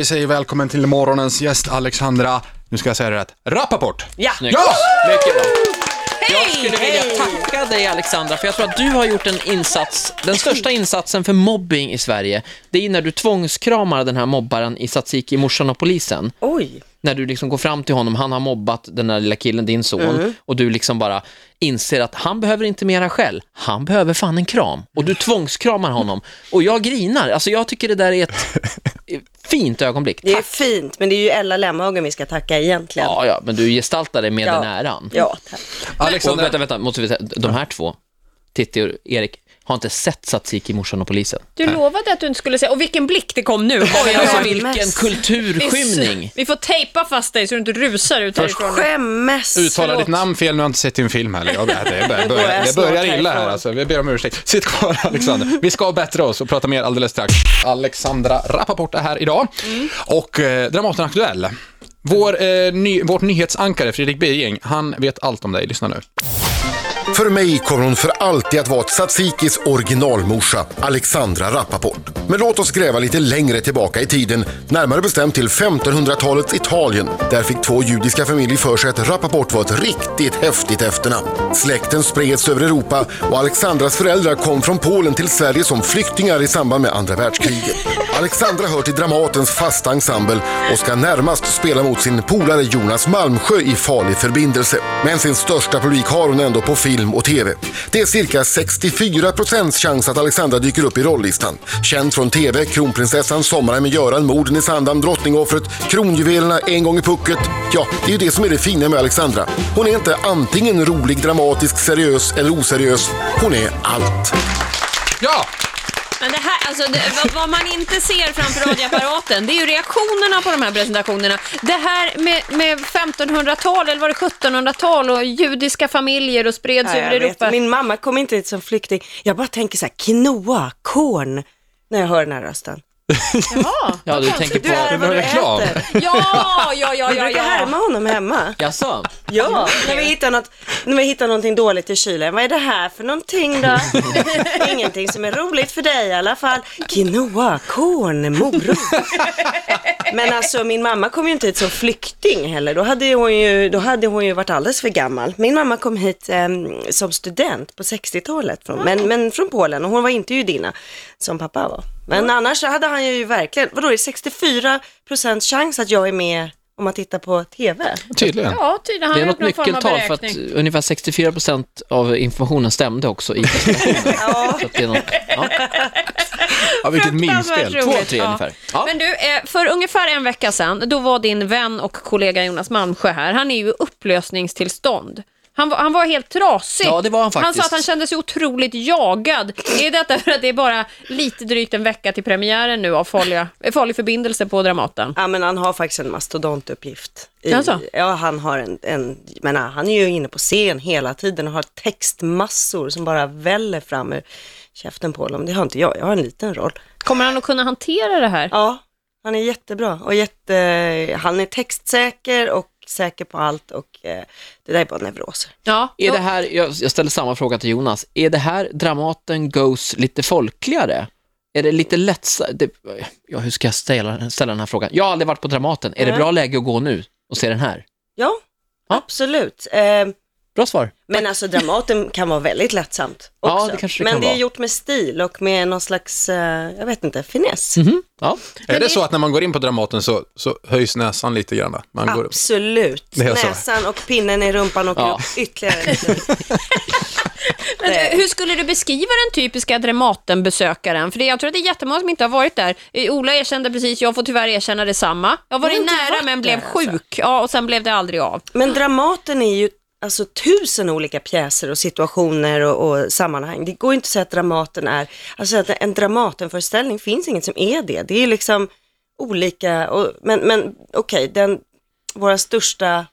Vi säger välkommen till morgonens gäst Alexandra, nu ska jag säga det rätt, Rappaport! Ja! Ja! Mycket bra. Jag skulle vilja tacka dig Alexandra, för jag tror att du har gjort en insats, den största insatsen för mobbing i Sverige. Det är när du tvångskramar den här mobbaren i Tsatsiki, morsan och polisen. Oj, När du liksom går fram till honom, han har mobbat den där lilla killen, din son, Mm. och du liksom bara inser att han behöver inte mera skäll, han behöver fan en kram. Och du tvångskramar honom. Och jag grinar, alltså jag tycker det där är ett fint ögonblick. det är Tack. fint, men det är ju Ella Lemhagen vi ska tacka egentligen. Ja, ja, men du gestaltar det med Ja. den äran. Ja, tack. Och vänta, Alexandra, vänta, måste vi säga, de här två, Titti och Erik, har inte sett Tsatsiki, morsan och polisen. Du lovade att du inte skulle säga, och vilken blick det kom nu. Oj, Alltså Ja, vilken mest. kulturskymning! Vi får tejpa fast dig så du inte rusar ut härifrån. Skämmes. uttala förlåt. ditt namn fel, nu har jag inte sett din film heller. Jag, det, det, börjar- går jag det snart börjar illa här härifrån. alltså, vi ber om ursäkt. Sitt kvar Alexander, vi ska bättra oss och prata mer alldeles strax. Alexandra Rappaport är här idag och eh, Dramaten Aktuell. Vår, eh, ny, vårt nyhetsankare Fredrik Birging, han vet allt om dig, lyssna nu. För mig kommer hon för alltid att vara Tsatsikis originalmorsa, Alexandra Rappaport. Men låt oss gräva lite längre tillbaka i tiden, närmare bestämt till 1500-talets Italien. Där fick två judiska familjer för sig att Rappaport var ett riktigt häftigt efternamn. Släkten spreds över Europa och Alexandras föräldrar kom från Polen till Sverige som flyktingar i samband med andra världskriget. Alexandra hör till Dramatens fasta ensemble och ska närmast spela mot sin polare Jonas Malmsjö i Farlig förbindelse. Men sin största publik har hon ändå på film och TV. Det är cirka 64% chans att Alexandra dyker upp i rollistan. Känd från TV, Kronprinsessan, Sommaren med Göran, Morden i Sandhamn, Drottningoffret, Kronjuvelerna, En gång i pucket. Ja, det är ju det som är det fina med Alexandra. Hon är inte antingen rolig, dramatisk, seriös eller oseriös. Hon är allt. Ja! Men det här, alltså, det, vad, vad man inte ser framför radioapparaten, det är ju reaktionerna på de här presentationerna. Det här med, med 1500-tal, eller var det 1700-tal, och judiska familjer och spreds Ja, över jag vet. Europa. Min mamma kom inte hit som flykting. Jag bara tänker så här, quinoa, korn, när jag hör den här rösten. Jaha. Ja, du tänker Du är på... vad du reklam. äter. Ja, ja, ja, Jag ja, brukar ja. härma honom hemma. Jaså? Ja, när vi hittar, något, när vi hittar någonting dåligt i kylen. Vad är det här för någonting då? Ingenting som är roligt för dig i alla fall. Quinoa, korn, morot. Men alltså min mamma kom ju inte hit som flykting heller. Då hade hon ju, då hade hon ju varit alldeles för gammal. Min mamma kom hit em, som student på 60-talet, från, men, men från Polen. Och hon var inte judinna som pappa var. Men annars så hade han ju verkligen, vadå är det 64 procents chans att jag är med om man tittar på TV? Tydligen. Ja, tydligen. Han Det är har något gjort någon form av nyckeltal för att beräkning. ungefär 64% av informationen stämde också i presentationen. Så att det är något, ja, Ja, vilket Fruktansvärt minspel. roligt. två av tre Ja. ungefär. Ja. Men du, eh, för ungefär en vecka sedan, då var din vän och kollega Jonas Malmsjö här. Han är ju i upplösningstillstånd. Han var, han var helt trasig. Ja, det var han faktiskt. sa att han kände sig otroligt jagad. Är detta för att det är bara lite drygt en vecka till premiären nu av farliga, eh, Farlig förbindelse på Dramaten? Ja men han har faktiskt en mastodontuppgift. I, Jaså? Ja han har en, en men ah, han är ju inne på scen hela tiden och har textmassor som bara väller fram ur käften på honom. Det har inte jag, jag har en liten roll. Kommer han att kunna hantera det här? Ja, han är jättebra och jätte, han är textsäker och säker på allt och eh, det där är bara neuroser. Ja, Är det då- här, jag, jag ställer samma fråga till Jonas, är det här Dramaten Goes lite folkligare? Är det lite lättsa... Det, ja, hur ska jag ställa, ställa den här frågan? Jag har aldrig varit på Dramaten, är det Nej. bra läge att gå nu och se den här? Ja, Ja. absolut. Eh, Bra svar. men alltså Dramaten kan vara väldigt lättsamt Ja, också. det kanske det men kan det är vara. gjort med stil och med någon slags, eh, jag vet inte, finess. Mhm, Ja. Är det så att när man går in på Dramaten så, så höjs näsan lite grann? Man går, Absolut. Det är så. Näsan och pinnen i rumpan och Ja. upp ytterligare lite. Men Eh, du, Alltså, hur skulle du beskriva den typiska Dramatenbesökaren? För det, jag tror att det är jättemånga som inte har varit där. Eh, Ola erkände precis, jag får tyvärr erkänna detsamma. Jag var Jag har inte nära varit men blev där, sjuk. Ja, och sen blev det aldrig av. Men Dramaten är ju alltså, tusen olika pjäser och situationer och, och sammanhang. Det går ju inte att säga att Dramaten är, alltså att en Dramatenföreställning finns inget som är det. Det är liksom olika, och, men, men okej, den våra största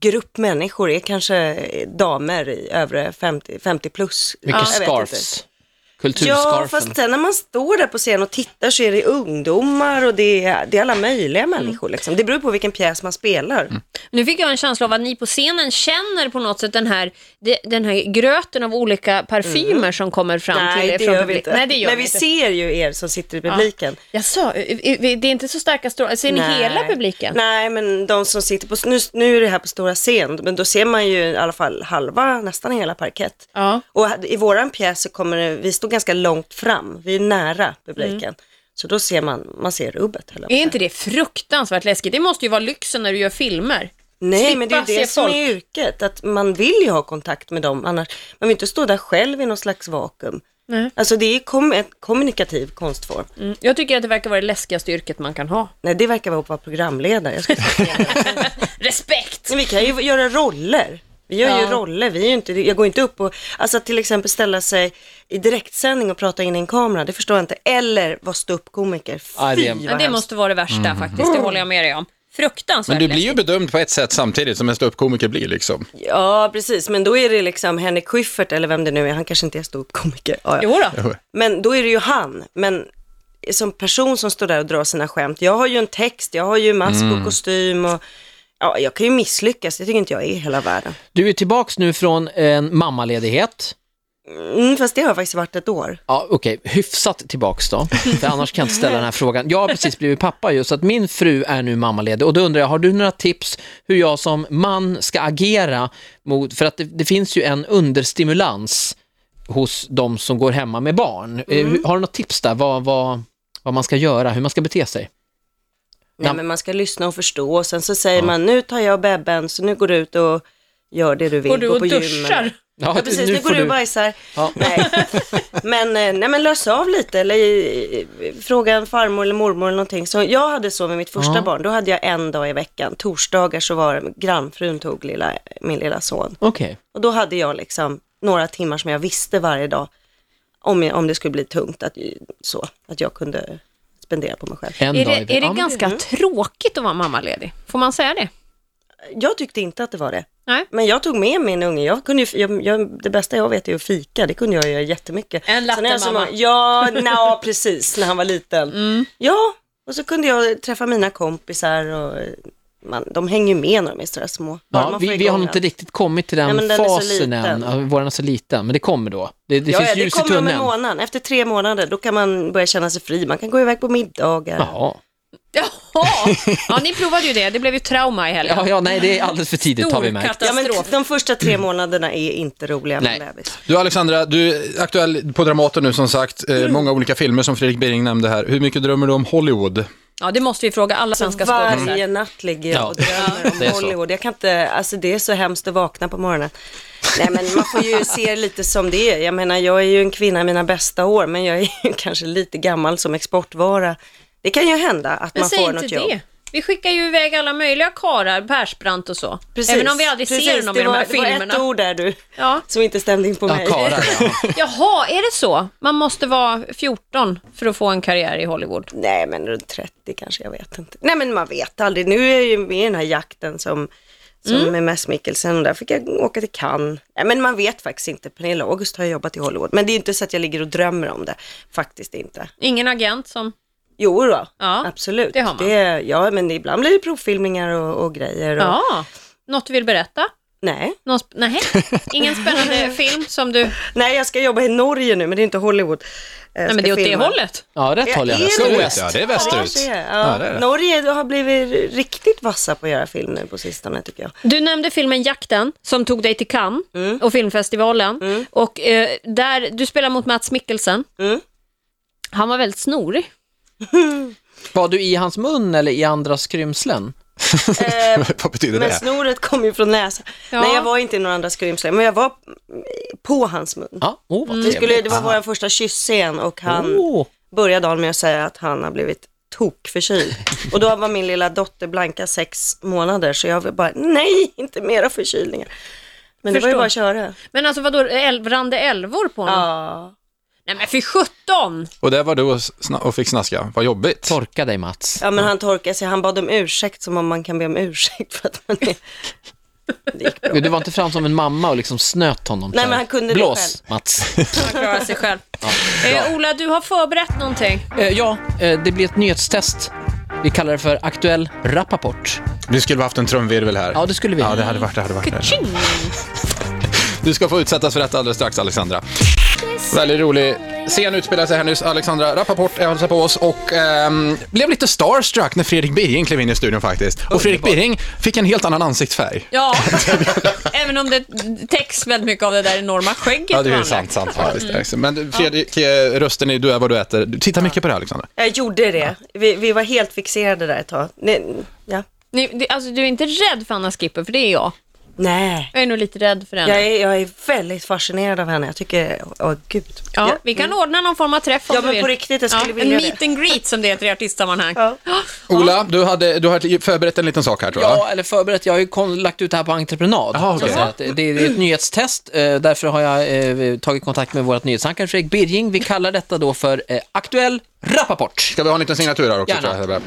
grupp människor är kanske damer i övre 50, 50 plus. Mycket Jag vet inte. scarfs. Ja, kulturscarfen. fast sen när man står där på scen och tittar så är det ungdomar och det är, det är alla möjliga människor. Liksom. Det beror på vilken pjäs man spelar. Nu fick jag en känsla av att ni på scenen känner på något sätt den här, de- den här gröten av olika parfymer som kommer fram till Mm. Nej, det från gör vi publik- inte. Nej, det gör Men vi vi inte. ser ju er som sitter i publiken. Jag sa, eh, det är inte så starka strålar. Ser ni Nej. hela publiken? Nej, men de som sitter på, nu, nu är det här på stora scen, men då ser man ju i alla fall halva, nästan hela parkett. Ja. Och i våran pjäs så kommer det, vi står ganska långt fram, vi är nära publiken. Mm. Så då ser man, man ser rubbet. höll jag på att Är säga. inte det fruktansvärt läskigt? Det måste ju vara lyxen när du gör filmer. Nej, men det är Slippa ju det se som folk. är yrket, att man vill ju ha kontakt med dem, annars, man vill inte stå där själv i någon slags vakuum. Nej. Alltså det är kom, en kommunikativ konstform. Mm. Jag tycker att det verkar vara det läskigaste yrket man kan ha. Nej, det verkar vara att vara programledare. Jag skulle Respekt! Men vi kan ju göra roller. Vi gör Ja. ju roller, vi är ju inte, jag går inte upp och, alltså till exempel ställa sig i direktsändning och prata in i en kamera, det förstår jag inte. Eller vara ståuppkomiker, fy Ja, det- Ja, vad det hemskt. måste vara det värsta faktiskt, det håller jag med dig om. Fruktansvärt Men du blir ju läskigt. bedömd på ett sätt samtidigt som en ståuppkomiker blir liksom. Ja, precis, men då är det liksom Henrik Schyffert eller vem det nu är, han kanske inte är ståuppkomiker. Ja, ja. Jo då. Men då är det ju han, men som person som står där och drar sina skämt, jag har ju en text, jag har ju mask och kostym och Ja, jag kan ju misslyckas, det tycker inte jag är i hela världen. Du är tillbaks nu från en mammaledighet. Mm, fast det har faktiskt varit ett år. Ja, okej. Hyfsat tillbaks då. För annars kan jag inte ställa den här frågan. Jag har precis blivit pappa ju, så att min fru är nu mammaledig. Och då undrar jag, har du några tips hur jag som man ska agera mot... För att det, det finns ju en understimulans hos de som går hemma med barn. Eh, Mm. hur- Har du något tips där? Vad, vad, vad man ska göra, hur man ska bete sig? Nej, Nam- men man ska lyssna och förstå och sen så säger man nu tar jag bebben så nu går du ut och gör det du vill. Går du Gå och på gym duschar? eller- Ja, precis, nu, går du och bajsar. Ja. Nej. Men, eh, nej, men lös av lite eller eh, fråga en farmor eller mormor eller någonting. Så jag hade så med mitt första Ja. barn, då hade jag en dag i veckan. Torsdagar så var grannfrun tog lilla, min lilla son. Okej. Och då hade jag liksom några timmar som jag visste varje dag, om, jag- om det skulle bli tungt, att, så, att jag kunde spendera på mig själv. En Är dag i det, är det veckan. ganska tråkigt att vara mammaledig? Får man säga det? Jag tyckte inte att det var det. Nej. Men jag tog med min unge. Jag kunde ju, jag, jag, det bästa jag vet är att fika. Det kunde jag göra jättemycket. En latte, Sen är jag så mamma. många- Ja, na, precis. När han var liten. Mm. Ja, och så kunde jag träffa mina kompisar. Och, eh, man, de hänger ju med när de är sådär små. Bara Ja, man får vi, vi har igång nog inte den. riktigt kommit till den, Nej, men den är så fasen än. liten. Ja, Våran är så liten, men det kommer då. Det, det ja, finns ja, det ljus i kommer om en tunneln. månad. Efter tre månader, då kan man börja känna sig fri. Man kan gå iväg på middagar. Jaha. Jaha! Ja, ni provade ju det. Det blev ju trauma i helgen. Ja, ja, nej, det är alldeles för tidigt har vi Stor märkt. Ja, men katastrof. de första tre månaderna är inte roliga med Nej. bebis. Du Alexandra, du är aktuell på Dramaten nu som sagt. Eh, många olika filmer som Fredrik Bering nämnde här. Hur mycket drömmer du om Hollywood? Ja, det måste vi fråga alla Så svenska skådisar. varje natt ligger jag och Ja, drömmer det är om så. Hollywood. Jag kan inte, alltså det är så hemskt att vakna på morgonen. Nej men man får ju se det lite som det är. Jag menar jag är ju en kvinna i mina bästa år men jag är ju kanske lite gammal som exportvara. Det kan ju hända att Men man säg får inte något det. jobb. Vi skickar ju iväg alla möjliga karar, Persbrandt och så. Även om vi aldrig ser precis. honom det i de var, här Det var ett filmerna. ord där du, Ja. som inte stämde in på Ja, mig. Kara, ja. Jaha, är det så? Man måste vara 14 för att få en karriär i Hollywood. Nej men runt 30 kanske, jag vet inte. Nej men man vet aldrig. Nu är jag ju med i den här jakten som som Mm. med Mads Mikkelsen och där fick jag åka till Cannes. Nej, men man vet faktiskt inte. Pernilla August har ju jobbat i Hollywood. Men det är ju inte så att jag ligger och drömmer om det. Faktiskt inte. Ingen agent som... Jo då, Ja, absolut. det har man. Det, ja, men ibland blir det provfilmningar och, och grejer. Och, Ja, något du vill berätta? Nej. Någon sp- nej, ingen spännande film som du... Nej, jag ska jobba i Norge nu, men det är inte Hollywood. eh, Nej, men det är åt det hållet. ja rätt håll jag. är Ska det du- Ja, det är västerut. Ja, Ja, det är det. Norge har blivit riktigt vassa på att göra film nu på sistone tycker jag. Du nämnde filmen Jakten som tog dig till Cannes och filmfestivalen. Och eh, där, du spelar mot Mats Mikkelsen. Mm. Han var väldigt snorig. Var du i hans mun eller i andra skrymslen? Eh, Vad betyder Men det? snoret kom ju från näsan. Ja. Nej, jag var inte i några andra skrymslen, men jag var på hans mun. Ja, oh, vad Vi skulle, trevligt. Mm, Oh. det var vår första kyssscen och han Åh, började dagen med att säga att han har blivit tokförkyld. Och då var min lilla dotter Blanka sex månader, så jag var bara, nej, inte mera förkylningar. Men det var ju Förstår. bara att köra. Men alltså vadå, el- rann det älvor på honom? Ja. Nej men för 17! Och där var du och, sna- och fick snaska. Vad jobbigt. torka dig Mats. ja, men han torkade sig. Han bad om ursäkt som om man kan be om ursäkt för att man är... Det gick bra. Du var inte fram som en mamma och liksom snöt honom. Nej, så här, men han kunde det Blås, Mats. Han klarar sig själv. eh, Ola, du har förberett någonting. Eh, ja, eh, det blir ett nyhetstest. Vi kallar det för Aktuell Rappaport. Vi skulle ha haft en trumvirvel här. Ja, det skulle vi. Ja, det hade varit det. Hade varit det. Ka-ching! Du ska få utsättas för detta alldeles strax, Alexandra. Väldigt rolig scen utspelar sig här nyss. Alexandra Rappaport är hälsar på oss och ehm, blev lite starstruck när Fredrik Birring klev in i studion faktiskt. Och Fredrik Birring fick en helt annan ansiktsfärg. Ja, även om det täcks väldigt mycket av det där enorma skägget. Ja, det är och ju sant. annat. sant faktiskt. Men Fredrik, eh, rösten i Du är vad du äter. Du tittar mycket på det, här, Alexandra. Jag gjorde det. Vi, vi var helt fixerade där ett tag. Nej, ja. Ni, det, alltså, du är inte rädd för Anna Skipper, för det är jag. Nej. Jag är nog lite rädd för henne. Jag är, jag är väldigt fascinerad av henne. Jag tycker, åh gud. Ja, Ja. Mm. vi kan ordna någon form av träff om Ja, du men vill. på riktigt, jag skulle ja, vilja En det. meet and greet som det heter i artistsammanhang. Ja. Ola, du hade, du hade förberett en liten sak här tror jag. Ja, eller förberett. Jag har ju kon- lagt ut det här på entreprenad. Jaha, så okej. att säga. Att det, det är ett nyhetstest. Eh, därför har jag eh, tagit kontakt med vårt nyhetsankare Fredrik Birging. Vi kallar detta då för eh, Aktuell Rappaport. Ska vi ha en liten signatur här också? Gärna. Tror jag, Hebbe?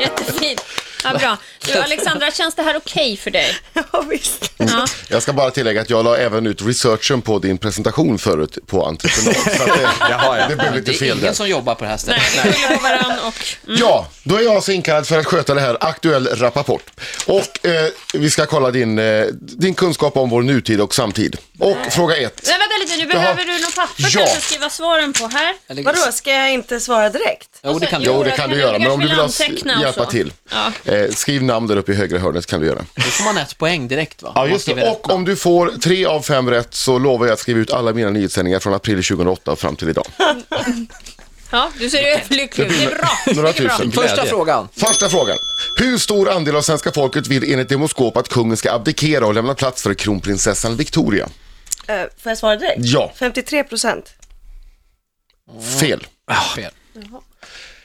Jättefint. Ja, bra. Du, Alexandra, känns det här okej för dig? ja, visst. Mm. Ja. Jag ska bara tillägga att jag la även ut researchen på din presentation förut på entreprenad. Så att det, Jaha, ja. det blev lite Det är fel där. ingen som jobbar på det här stället. Nej, vi skyller på varandra och... Ja, då är jag alltså inkallad för att sköta det här Aktuell Rappaport. Och eh, vi ska kolla din, eh, din kunskap om vår nutid och samtid. Och fråga ett. Nej, vänta lite, nu behöver Jaha. du något papper Ja. kanske att skriva svaren på här. Eller- Vadå, ska jag inte svara direkt? Jo, det kan du. Jo, det kan du göra, men om du vill ha, Anteckna och hjälpa så. till. Eh, skriv namn där uppe i högra hörnet kan du göra. Då får man ett poäng direkt va? Ja, Om man just skriver det. rätt Och om du får tre av fem rätt så lovar jag att skriva ut alla mina nyhetssändningar från april 2008 och fram till idag. Ja, du ser ju lycklig ut. Det är bra. Några Det är bra. tusen. namn. Första Glädje. frågan. Första frågan. Hur stor andel av svenska folket vill enligt Demoskop att kungen ska abdikera och lämna plats för kronprinsessan Victoria? Eh, får jag svara direkt? Ja. 53 procent. Fel. Fel.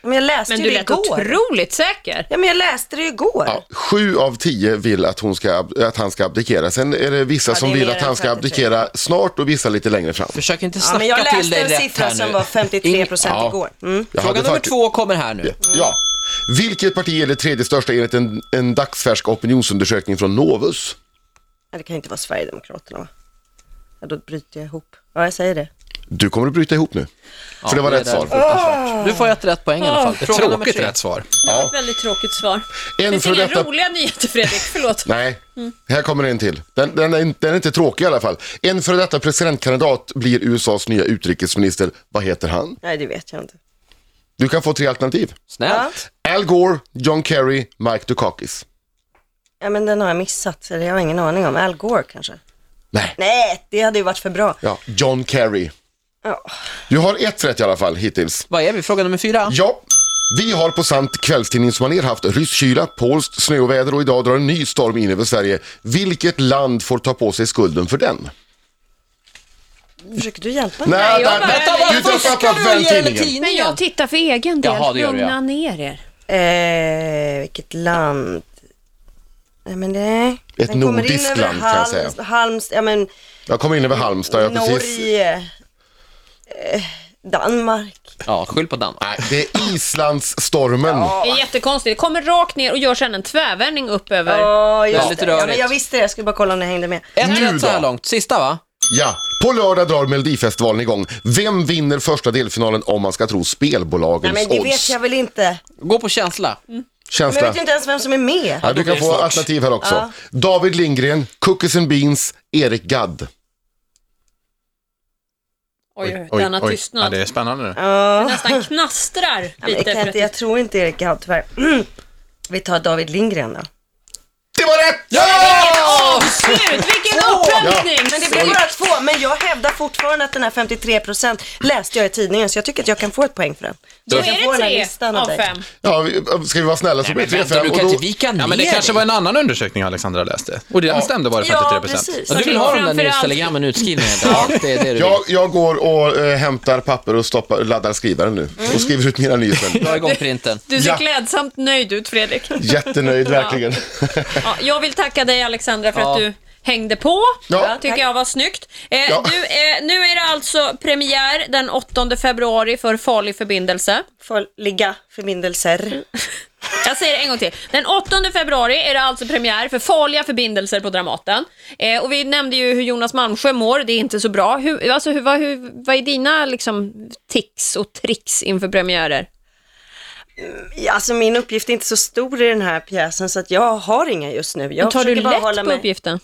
Men jag läste Men ju du det lät igår. otroligt säker. Ja, men jag läste det ju igår. Ja, sju av tio vill att, hon ska, ab- att han ska abdikera. Sen är det vissa Ja, som det är vill mer att än han ska 53. abdikera snart och vissa lite längre fram. Försök inte Ja, snacka men jag till läste dig en rätt siffra här som nu. var 53 procent Ja. igår. Mm. Jag Fråga hade nummer faktiskt- två kommer här nu. Ja. Vilket parti är det tredje största enligt en, en dagsfärsk opinionsundersökning från Novus? Ja, Det kan ju inte vara Sverigedemokraterna va? Ja, då bryter jag ihop. Ja, jag säger det. Du kommer att bryta ihop nu. För det var det rätt är svar. där. Du får ett rätt poäng i alla fall. Ett Fråga nummer tråkigt tre. rätt svar. Ja. Väldigt tråkigt svar. Det En finns för inga detta... roliga nyheter, Fredrik. Förlåt. Nej, här kommer en till. Den, den, är, inte- den är inte tråkig i alla fall. En före detta presidentkandidat blir USAs nya utrikesminister. Vad heter han? Nej, det vet jag inte. Du kan få tre alternativ. Snällt. Al Gore, John Kerry, Mike Dukakis. Ja, men den har jag missat, så det har jag ingen aning om. Al Gore kanske? Nej. Nej, det hade ju varit för bra. Ja, John Kerry. Ja. Du har ett rätt i alla fall hittills. Vad är vi? Fråga nummer fyra. Ja, vi har på sant kvällstidningsmanér haft rysk kyla, polskt snöoväder och idag drar en ny storm in över Sverige. Vilket land får ta på sig skulden för den? Försöker du hjälpa mig? Nej, jag bara- Vänta, vad du fuskar tappar du? väl Ge den tidningen. tid. Men jag tittar för egen del. Jaha, det gör du, ja. Lugna ner er. Eh, vilket land? Nej, men det... Ett Den kommer in nordiskt över land, kan jag säga. Halmstad- Halmstad, ja men Jag kom in över Halmstad, jag precis. Norge, eh, Danmark. Ja, skyll på Danmark. Nej, det är Islandsstormen. Det är jättekonstigt. Det kommer rakt ner och gör sedan en tvärvändning upp över. Ja, just Väldigt det. Ja, men rörigt. jag visste det, jag skulle bara kolla om ni hängde med. Ett Nu rätt så här då? långt. Sista va? Ja, på lördag drar Melodifestivalen igång. Vem vinner första delfinalen om man ska tro Nej, spelbolagens men det vet odds? jag väl inte. Gå på känsla. Men jag Känsla? vet ju inte ens vem som är med. Ja, du kan blir det få svårt. alternativ här också. David Lindgren, Cookies and Beans, Erik Gadd. Oj, oj, Oj, denna oj. Ja, tystnad. det är spännande nu. Ja. Nästan knastrar Jag, lite. kan för inte, jag att- tror inte Erik Gadd tyvärr. Vi tar David Lindgren då. Det var rätt! Avslut! Vilken upphämtning! Men det blir bara två, men jag hävdar fortfarande att den här 53 procent läste jag i tidningen, så jag tycker att jag kan få ett poäng för den. Då jag får är den här det tre listan av av dig. fem. Ja, vi- ska vi vara snälla så blir det 3-5. Du och kan då- inte vika ner Ja, men det kanske dig. var en annan undersökning Alexandra läste. Och den stämde, var det 53 Ja, precis. Ja, Alltså, Du vill ha de där Framförallt- nyhetstelegrammen utskrivna helt enkelt. Det är det du vill. Jag, jag går och eh, hämtar papper och stoppar, laddar skrivaren nu Mm. och skriver ut mina nyheter. Dra igång printen. Du ser Ja. klädsamt nöjd ut, Fredrik. Jättenöjd verkligen. Ja, jag vill tacka dig, Alexandra, för Ja. att du hängde på. Ja. Ja, tycker jag var snyggt. Eh, Ja. du, eh, nu är det alltså premiär den 8 februari för Farlig förbindelse. Får ligga förbindelser. Jag säger det en gång till. Den 8 februari är det alltså premiär för Farliga förbindelser på Dramaten. Eh, och vi nämnde ju hur Jonas Malmsjö mår, det är inte så bra. Hur, alltså, hur, vad, hur, vad är dina liksom, tics och tricks inför premiärer? Ja, alltså min uppgift är inte så stor i den här pjäsen så att jag har inga just nu. Jag Tar du försöker bara lätt hålla på mig- uppgiften?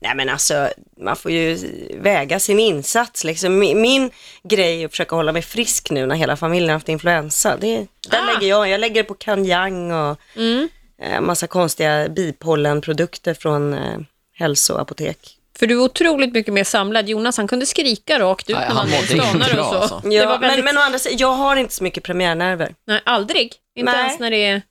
Nej men alltså, man får ju väga sin insats liksom. Min, min grej är att försöka hålla mig frisk nu när hela familjen har haft influensa. Det, där Ah! lägger jag, jag lägger på kanjang och Mm. eh, massa konstiga bipollenprodukter från eh, hälsoapotek. För du är otroligt mycket mer samlad. Jonas han kunde skrika rakt ut Nej, när han han blev mådde inte stanare bra, och så. alltså. det Ja, var väldigt... men, men å andra sidan, jag har inte så mycket premiärnerver. Nej, aldrig. Inte Nej. ens när det är...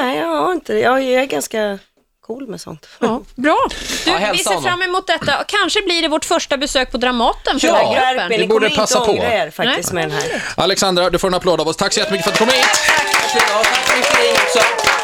Nej, jag har inte det. Jag jag är ganska cool med sånt. Ja, bra. Du, Ja, hälsa vi ser honom. fram emot detta. Kanske blir det vårt första besök på Dramaten för Ja. den här Skärp gruppen. Ni er, ni borde kommer inte passa på. ångra er faktiskt med den här. Alexandra, du får en applåd av oss. Tack så jättemycket för att du kom hit. Tack, Tack för idag. Tack för att ni också.